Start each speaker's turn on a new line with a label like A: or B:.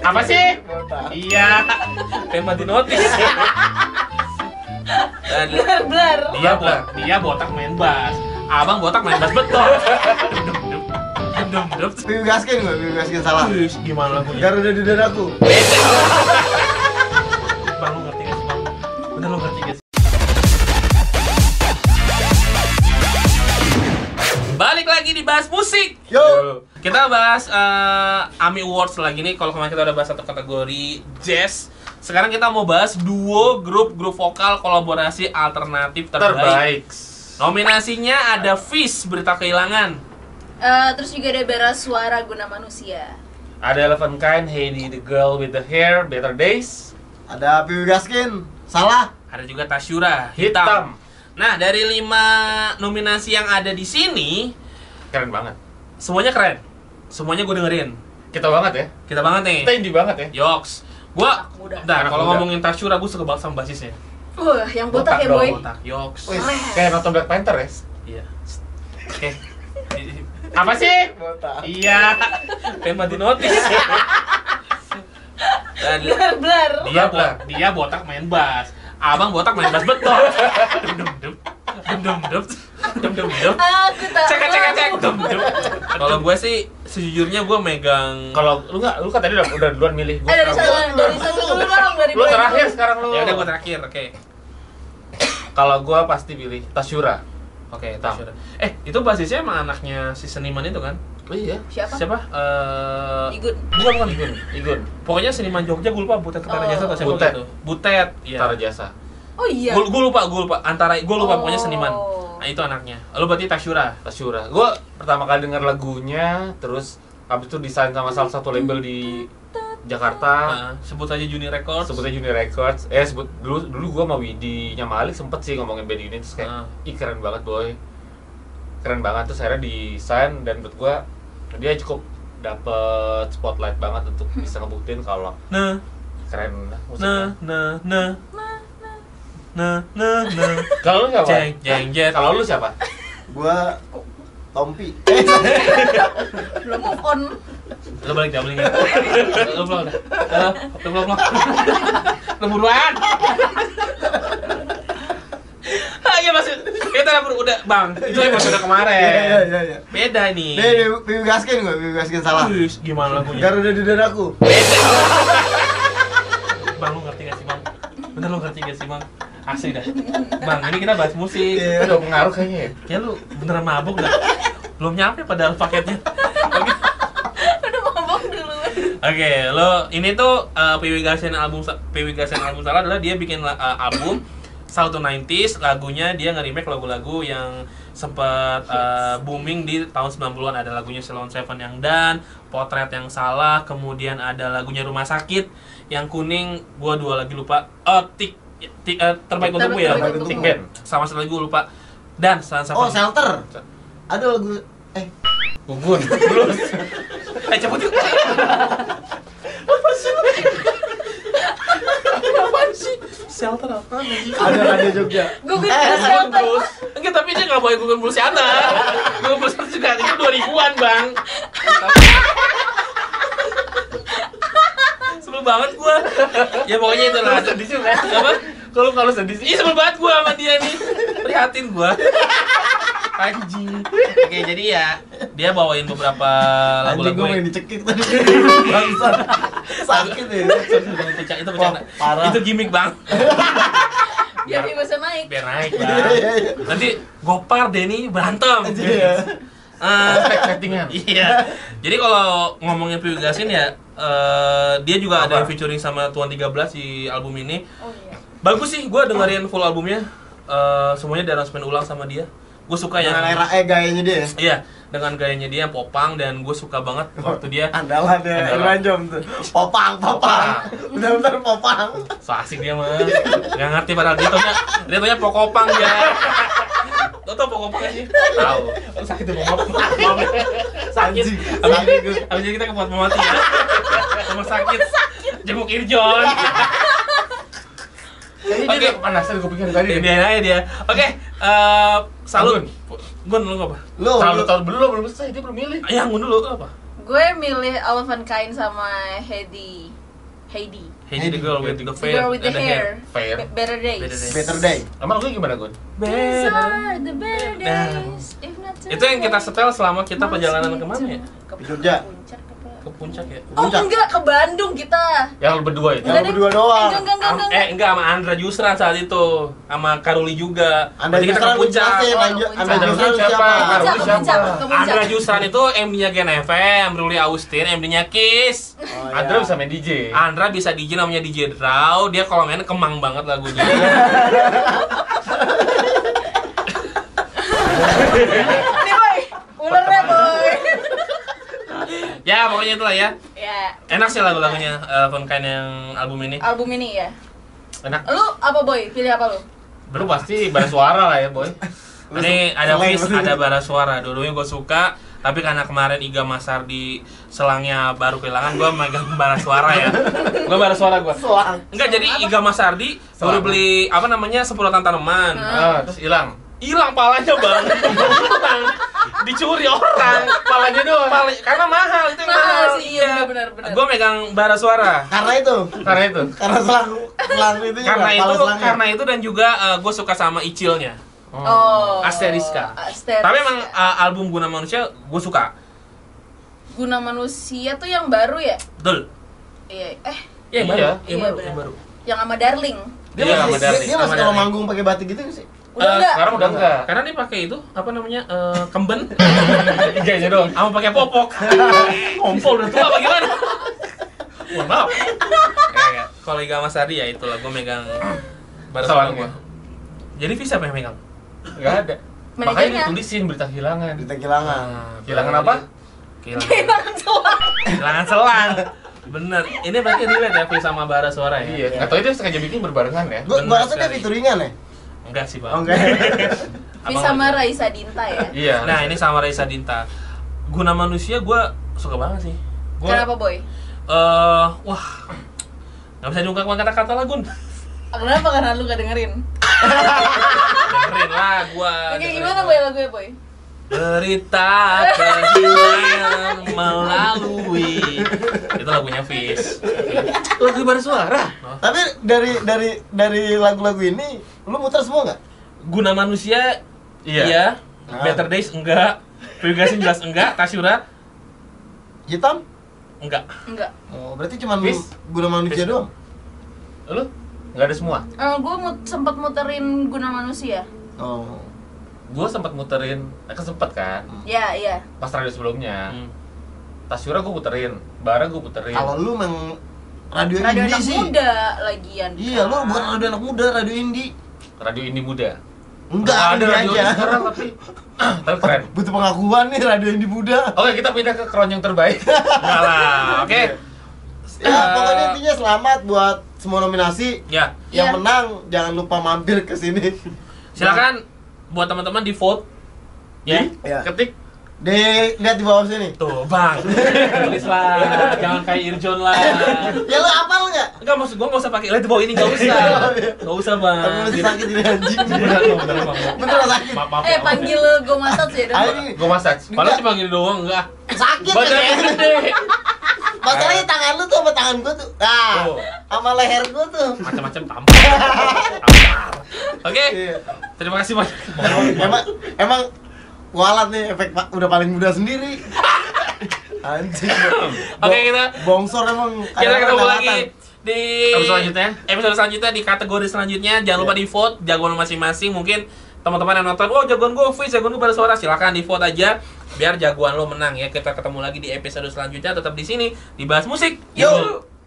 A: Apa sih? Iya.
B: tema di notis dan
C: Blur, blur.
A: Dia bo- dia botak main bass. Abang botak main bass betul. Dum dum dum.
D: Bibi gaskin gue, bibi gaskin salah
A: Wih, Gimana lagunya?
D: Garuda di dadaku
A: Bang lu ngerti gak sih bang? Bener lu ngerti gak sih?
B: balik lagi di bahas musik
D: Yo
B: kita bahas eh, AMI Awards lagi nih kalau kemarin kita udah bahas satu kategori jazz sekarang kita mau bahas duo grup grup vokal kolaborasi alternatif terbaik.
A: Terbaik.
B: nominasinya ada Fish Berita Kehilangan
C: Eh, terus juga ada Bera Suara Guna Manusia.
A: Ada Eleven Kind, Heidi the Girl with the Hair, Better Days,
D: Ada bibi gaskin Salah
B: ada juga Tasyura
A: Hitam.
B: Hitam, nah dari lima nominasi yang ada di sini
A: Keren banget.
B: semuanya keren semuanya gue dengerin
A: Kita banget ya.
B: kita banget nih
A: Kita indie banget ya.
B: Yoks gua
C: Anak muda.
B: Bentar,
A: Anak
B: kalau
A: muda.
B: ngomongin Tasyura gue suka banget sama basisnya
C: Wah, yang botak,
A: Botak
C: ya boy.
A: dong.
B: botak Yoks
D: Wih.
A: Kayak nonton Black Panther ya.
B: Iya. Oke.
A: Apa sih?
D: Botak
A: Iya.
B: Tema di notis. Dan
C: Blur, blur.
A: Dia botak, dia botak main bass.
B: abang botak main bass betul. Dum dum dum dum dum dum dum dum.
C: Aku tak
B: Cek cek cek
C: mau.
B: dum dum. Kalau gue sih sejujurnya gue megang
A: Kalau lu nggak, lu kan tadi udah, udah duluan milih
C: Eh, dari
A: gua.
C: sana, dari satu dulu dong, dari
A: Lu
C: boy
A: terakhir
C: dulu.
A: sekarang lu.
B: ya udah gue terakhir. Oke.
A: Kalau gua pasti pilih Tasyura.
B: Oke, Tasyura. Eh, itu basisnya emang anaknya si seniman itu kan?
A: Oh iya.
C: Siapa?
B: Siapa? Eh
C: Igun.
B: Bukan bukan Igun.
A: Igun.
B: Pokoknya seniman Jogja gue lupa Butet Ketarajasa atau siapa
A: Butet.
B: gitu. Butet. Iya.
A: Tara Jasa.
C: Oh iya.
B: Gue gue lupa, gue lupa. Antara gue lupa
C: Oh.
B: pokoknya seniman. Nah, itu anaknya. Lo berarti Tasyura.
A: Tasyura. Gua pertama kali denger lagunya, terus habis itu desain sama salah satu label di Jakarta.
B: Nah, sebut aja Juni Records.
A: sebutnya Junior Records eh sebut dulu dulu gua sama Widi nya Malik sempet sih ngomongin band ini terus kayak
B: Ah.
A: ih keren banget boy keren banget terus akhirnya desain dan menurut gua dia cukup dapet spotlight banget untuk bisa ngebuktiin kalau
B: Nah,
A: keren
B: Hmm. nah,
A: musiknya
B: nah, nah. Nah, nah, nah.
A: kalau lu siapa
B: Jeng, jeng, jeng.
A: kalau lu siapa
D: Gua Tompi Eh
C: Belum move on.
B: Lo balik dah, balik dah. Lo pulang dah. Eh, Lo pulang, pulang. Lo buruan. Ah, iya maksud. Kita udah udah, Bang. Itu episode
D: Iya iya
B: kemarin.
D: iya iya
B: Beda nih.
D: Nih, nih, bibi gaskin gue, bibi gaskin salah
B: Wih, gimana lagunya?
D: Garuda di dadaku
B: Bang, lo ngerti gak sih, Bang? Bener lo ngerti gak sih, Bang? Asli dah. Bang, ini kita bahas musik.
D: Iya.
A: Itu udah pengaruh kayaknya ya
B: Kayak lu beneran mabuk dah. Belum nyampe padahal paketnya. Oke,
C: Udah mabok dulu.
B: Oke, lo ini tuh uh, PW Garsen album sa- PW Garsen album salah adalah dia bikin la- uh, album South to 90s, lagunya dia nge-remake lagu-lagu yang sempat uh, booming di tahun 90-an ada lagunya Salon Seven yang dan Potret yang salah, kemudian ada lagunya Rumah Sakit yang kuning, gua dua lagi lupa. Eh, tik, Tik- eh, terbaik untukmu ya.
C: Terbaik
D: Untukmu.
A: Tik band
B: Sama satu lagi gua lupa. Dan Salon Seven.
D: Oh, shelter Ada lagu Eh,
A: gugun blues
B: Eh cabut yuk. apa sih? Apa sih? Shelter apa sih?
D: ada Radio Jogja
C: Gue gue
D: Eh,
C: shelter.
B: Enggak, tapi dia nggak boleh Google Plus Yana. Google Plus Yana juga itu 2000-an, Bang. Sebel banget gua. Ya pokoknya itu lah.
A: sedih sih Mas.
B: Apa?
A: kalau kalau sedih
B: Ih,
A: sih
B: sebel banget gua sama dia nih. Prihatin gua. Anjing. Oke, jadi ya dia bawain beberapa
D: Anjing
B: lagu-lagu
D: gue
B: yang-
D: main dicekik tadi Bangsat Sakit ya
B: Jangan pecah, itu bercanda.
D: Wah, parah.
B: Itu gimmick, Bang.
C: Biar bisa naik.
B: Biar naik,
D: Iya,
B: Bang.
D: iya, iya.
B: Nanti Gopar Denny berantem.
D: Iya.
B: Eh,
A: settingan
B: iya. Jadi kalau ngomongin Piu Gasin ya eh, dia juga ada
A: Apa?
B: yang featuring sama Tuan 13 di album ini.
C: Oh iya.
B: Bagus sih, gua dengerin full albumnya. Eh, semuanya di arrangement ulang sama dia. Gue suka yang
D: Dengan era eh gayanya dia ya?
B: Iya, dengan gayanya dia yang popang dan gue suka banget waktu dia
D: Andalan ya,
B: Andalan.
D: Irwan Jom tuh Popang, popang Bener-bener popang
B: So asik dia mah. Gak ngerti padahal dia taunya dia taunya pokopang ya. Lo tau pokopang gak sih? Tahu. Sakit
A: ya,
B: tuh pokopang.
D: Sakit
B: Abis
D: Sakit
B: ini, abis ini kita ke Fatmawati ya. Rumah sakit. Jenguk Irjon.
A: jadi
B: Oke.
A: dia panasan gue pikir tadi
B: Dia aja dia. Oke, eh, salut. Gun, lu apa?
D: Lu,
A: Terlalu
D: lu-
A: tahun belum belum selesai dia belum milih.
B: Ya, Gun dulu apa?
C: Gue Gue milih Elephant Kind sama Heidi. Heidi.
B: Heidi the girl with the
C: The
B: fair
C: Girl with the,
B: and the
C: hair.
B: hair.
A: Fair.
C: Be- better days.
B: Better Days.
D: Better day.
A: Emang lu gimana Gun?
C: These
B: Better.
C: are the better days. If not today,
B: Nah. Itu yang kita setel selama kita
C: must
B: perjalanan
C: be
B: kemana ya?
C: tomorrow.
D: Ke Jogja.
C: Puncak apa?
B: Ke puncak ya?
C: Oh
D: Puncak.
C: enggak ke Bandung kita.
A: Yang lu berdua
D: Yang
A: itu.
C: Enggak deh.
D: berdua doang.
C: Eh, Enggak enggak
B: Am-
C: enggak.
B: eh enggak sama Andra Jusran saat itu sama Karuli juga
D: Anda
B: Berarti kita ke
D: Jusran
B: puncak
D: jelasin,
C: Oh,
D: Anda-
C: puncak.
D: Anda
A: Anda
D: Jusran
A: siapa?
D: siapa?
C: Ke Puncak, ke
A: Siapa?
C: Puncak, ke Puncak.
B: Andra Jusran itu MD-nya Gen FM, Ruli Austin, MD-nya Kiss
D: Oh, iya.
A: Andra bisa main DJ.
B: Andra bisa DJ namanya DJ Draw, dia kalau main kemang banget lagunya
C: Nih boy, ulernya boy.
B: Ya pokoknya itulah ya,
C: ya,
B: enak sih lagu-lagunya eh, Von Kain yang album ini
C: album ini ya.
A: Enak.
C: Lu apa boy? Pilih apa lu?
A: Lu pasti bar suara lah ya, Boy.
B: Ini ada
D: Selain
B: Wis,
D: lu.
B: ada bara suara. Dulunya gue suka, tapi karena kemarin Iga Masar di selangnya baru kehilangan, gue megang bara suara ya. Gue bara suara gue.
D: Selang.
B: Enggak, jadi Iga Masardi baru
A: Selang.
B: beli apa namanya semprotan tanaman.
A: Ah, terus hilang.
B: Hilang palanya bang. Hilang. Dicuri orang.
A: Palanya doang.
B: Pala- karena mahal itu yang mahal.
C: Mahal sih, iya, benar-benar.
B: Gue megang bara suara.
D: Karena itu.
A: Karena itu.
D: Karena selang selang itu juga,
B: Karena
D: pala
B: itu,
D: selangnya.
B: karena itu dan juga gue suka sama Icilnya.
C: Oh.
B: Hmm. Asteriska.
C: Asteriska.
B: Tapi emang eh, album Guna Manusia gue suka.
C: guna manusia tuh yang baru ya?
B: Betul.
C: Iya. Eh,
B: Iya, yang
A: Iya.
B: baru, yang
C: Iya,
B: baru,
C: benar.
B: yang baru.
C: yang sama Darling.
D: Dia
A: Iya,
D: masih,
A: sama
D: dia,
A: Darling,
D: dia masih
B: sama
D: kalau
B: Darling.
D: manggung pakai batik gitu nggak sih?
C: Udah
B: Eh,
C: enggak?
A: Sekarang udah enggak.
B: Karena dia pakai itu apa namanya eh, kemben,
A: Tiganya doang.
B: sama pakai popok. Kompol udah tua bagaimana?
A: Mohon maaf.
B: Kalau Iga Mas Adi ya itulah gue megang baru
A: Soalnya.
B: gue. Jadi visa apa yang megang?
A: Enggak ada. Makanya
C: Manajernya.
A: ditulisin berita kehilangan.
D: Kita kehilangan.
A: Kehilangan apa?
B: Ah, Kehilangan, kehilangan selang. Bener. Ini berarti relate ya Visa sama Bara Suara ya?
A: Iya. Nggak tahu itu sengaja bikin berbarengan ya.
D: Gua,
B: Bener
D: gua rasa dia
B: sekali.
D: featuringan ya.
B: Enggak sih bang.
D: Oh, enggak.
B: Abang
C: Bisa sama
B: lagi.
C: Raisa Dinta ya?
A: Iya.
B: Nah ini sama Raisa Dinta. Guna manusia gue suka banget sih. Gua,
C: Kenapa boy?
B: Eh, wah, nggak bisa diungkapkan kata-kata lah Gun.
C: Kenapa karena lu gak dengerin?
B: Dengerin lah gua.
C: Oke
B: dengerin
C: gimana
B: lah.
C: boy lagunya boy?
B: Berita kehilangan melalui. Itu lagunya Fis.
A: lagu bar suara.
D: Tapi dari dari dari lagu-lagu ini lu muter semua nggak?
B: Guna manusia
A: Iya.
B: iya.
D: Ah.
B: Better Days enggak. Privigasi jelas enggak. Tasyura
D: Hitam?
B: enggak.
C: Enggak.
D: Oh, berarti cuma
A: Fis.
D: guna manusia
B: Fis.
D: doang.
A: Lu enggak ada semua.
C: Eh, gue mut, sempat muterin guna manusia.
D: Oh.
A: Gua sempat muterin, eh, kan sempet kan
C: Ya, iya.
A: pas radio sebelumnya.
B: Hmm.
A: Tasyura gua puterin, Bara gua
B: Iya.
A: puterin.
D: Kalau lu memang radio,
C: Radio
D: indie
C: anak
D: sih.
C: muda lagian.
D: Iya, lu
C: kan.
D: bukan radio anak muda, radio indie.
A: Radio ini muda.
D: Enggak,
A: Nggak ada
D: indie
A: radio
D: aja.
A: ini sekarang tapi tapi keren.
D: Butuh pengakuan nih radio indie muda.
A: Oke, kita pindah ke keroncong terbaik.
B: Enggak lah. Oke.
D: Ya,
B: Iya. Eh,
D: pokoknya intinya selamat buat semua nominasi.
B: Ya,
D: Yang
C: Iya.
D: menang jangan lupa mampir ke sini.
B: silakan buat teman-teman di vote. Ya.
D: Ya.
A: Ketik
D: Di lihat di bawah sini.
B: Tuh, Bang. Tulis lah. Jangan kayak Irjon lah.
D: Ya lu apal enggak?
B: Enggak maksud gua enggak usah pakai light ball ini enggak usah. Enggak usah, Bang.
D: Tapi masih sakit jadi anjing.
B: Beneran, Bang, beneran, Bang.
D: Beneran sakit.
B: iya. Maaf, ya, maaf.
C: Eh,
B: maaf.
C: panggil gue masat sih dong.
D: Ayo nih,
A: gua massage.
B: Padahal cuma gini doang enggak.
C: Iya,
D: sakit
C: ya?
B: Badannya
D: kan?
B: gede.
D: Masalahnya tangan lu tuh sama tangan gua tuh. Ah,
B: Tuh.
D: sama leher gua tuh.
B: Macam-macam tampar. Tampar. Oke.
D: Iya.
B: Terima kasih banyak.
D: emang emang kualat nih efek pa- udah paling muda sendiri. Anjing.
B: Oke, kita-
D: bongsor emang.
B: Kita
D: kadang-kadang
B: ketemu
D: kelewatan.
B: lagi di
A: Episode selanjutnya.
B: Episode selanjutnya di kategori selanjutnya jangan lupa
D: Iya.
B: di vote jagoan masing-masing mungkin teman-teman yang nonton, oh jagoan gue Fis, jagoan gue bersuara, silakan di vote aja biar jagoan lo menang ya. Kita ketemu lagi di episode selanjutnya tetap di sini dibahas musik.
D: Yuk.